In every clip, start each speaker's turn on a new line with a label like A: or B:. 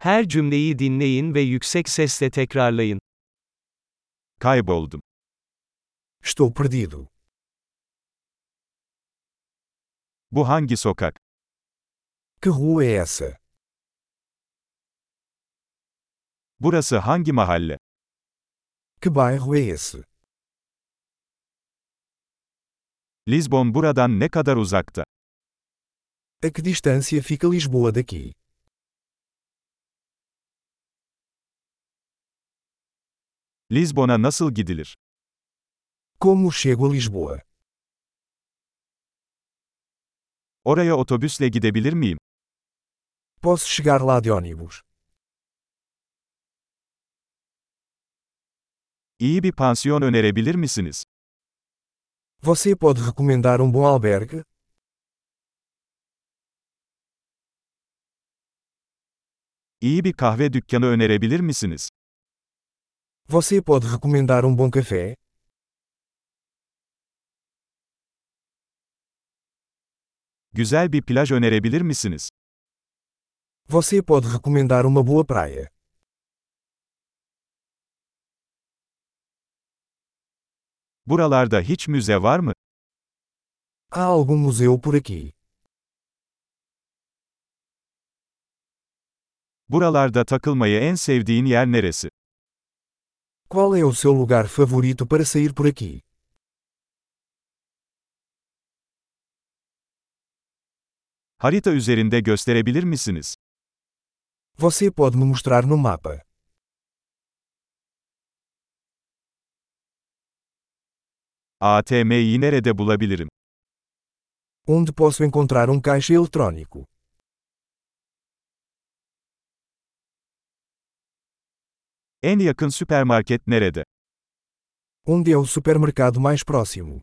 A: Her cümleyi dinleyin ve yüksek sesle tekrarlayın.
B: Kayboldum.
C: Estou perdido.
B: Bu hangi sokak?
C: Que rua é essa?
B: Burası hangi mahalle?
C: Que bairro é esse?
B: Lisbon buradan ne kadar uzakta?
C: A que distância fica Lisboa daqui?
B: Lisbon'a nasıl gidilir?
C: Como chego a Lisboa?
B: Oraya otobüsle gidebilir miyim?
C: Posso chegar lá de ônibus?
B: İyi bir pansiyon önerebilir misiniz?
C: Você pode recomendar um bom albergue?
B: İyi bir kahve dükkanı önerebilir misiniz?
C: Você pode recomendar um bom café?
B: Güzel bir plaj önerebilir misiniz?
C: Você pode recomendar uma boa praia?
B: Buralarda hiç müze var mı?
C: Há algum museu por aqui?
B: Buralarda takılmayı en sevdiğin yer neresi?
C: Qual é o seu lugar favorito para sair por aqui?
B: Harita üzerinde gösterebilir misiniz?
C: Você pode me mostrar no mapa.
B: ATM'yi nerede bulabilirim?
C: Onde posso encontrar um caixa eletrônico?
B: En yakın süpermarket nerede?
C: Onde é o supermercado mais próximo?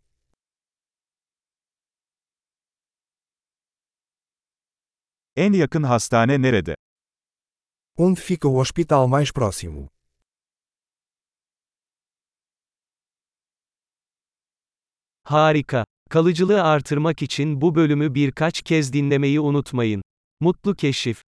B: En yakın hastane nerede?
C: Onde fica o hospital mais próximo?
A: Harika. Kalıcılığı artırmak için bu bölümü birkaç kez dinlemeyi unutmayın. Mutlu keşif.